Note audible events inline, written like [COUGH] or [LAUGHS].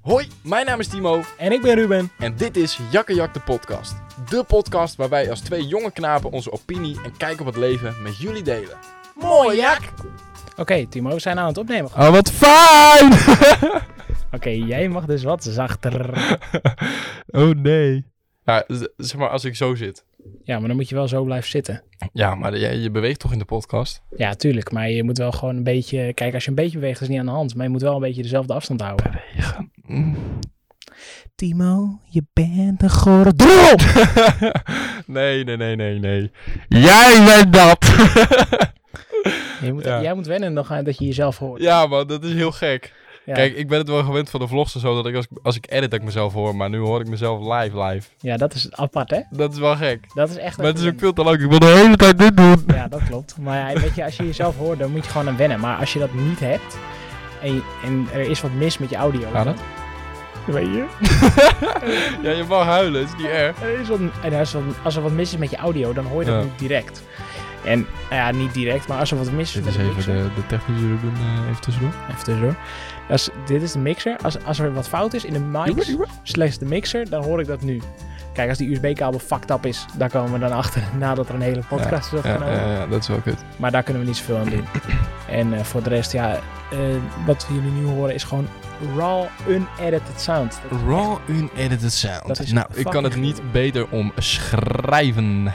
Hoi, mijn naam is Timo En ik ben Ruben. en dit is Jakkejak de podcast. De podcast waar wij als twee jonge knapen onze opinie en kijk op het leven met jullie delen. Mooi jak! Oké, Timo, we zijn aan het opnemen. Oh, wat fijn! [LAUGHS] Oké, jij mag dus wat zachter. oh nee. Ja, z- zeg maar als ik zo zit. Ja, maar dan moet je wel zo blijven zitten. Ja, maar je, je beweegt toch in de podcast? Ja, tuurlijk, maar je moet wel gewoon een beetje... Kijk, als je een beetje beweegt is het niet aan de hand, maar je moet wel een beetje dezelfde afstand houden. Timo, je bent een gore drol! [LAUGHS] nee, nee, nee, nee, nee. Jij bent dat! [LAUGHS] Je moet, Ja. Jij moet wennen nog aan dat je jezelf hoort. ja man, dat is heel gek. Ja. Kijk, ik ben het wel gewend van de vlogs en zo, dat ik als, als ik edit dat ik mezelf hoor, maar nu hoor ik mezelf live live. ja, dat is apart, hè? Dat is wel gek. Dat is echt... Maar het is even- ook veel te lang, ik wil de hele tijd dit doen. [LAUGHS] Ja, dat klopt. Maar ja, weet je, als je jezelf hoort, dan moet je gewoon aan wennen. Maar als je dat niet hebt en, je- en er is wat mis met je audio... Gaat dan- Weet je? Ja, je mag huilen, is niet erg. Er is wat, en als, er wat- als er wat mis is met je audio, dan hoor je dat Ja. niet direct. En nou ja, niet direct, maar als er wat mis is Dit met is de even mixer. de, de technische Ruben eh, even tussendoor. Even tussendoor. Als, dit is de mixer. Als, als er wat fout is in de mics, slechts de mixer, dan hoor ik dat nu. Kijk, als die USB-kabel fucked up is, daar komen we dan achter [LAUGHS] nadat er een hele podcast is Ja, opgenomen. ja, ja, dat is wel kut. Maar daar kunnen we niet zoveel aan [CLEARS THROAT] doen. en eh, voor de rest, ja, eh, wat jullie nu horen is gewoon raw, unedited sound. Dat- Raw unedited sound. Dat is nou, ik kan het fucking niet beter omschrijven.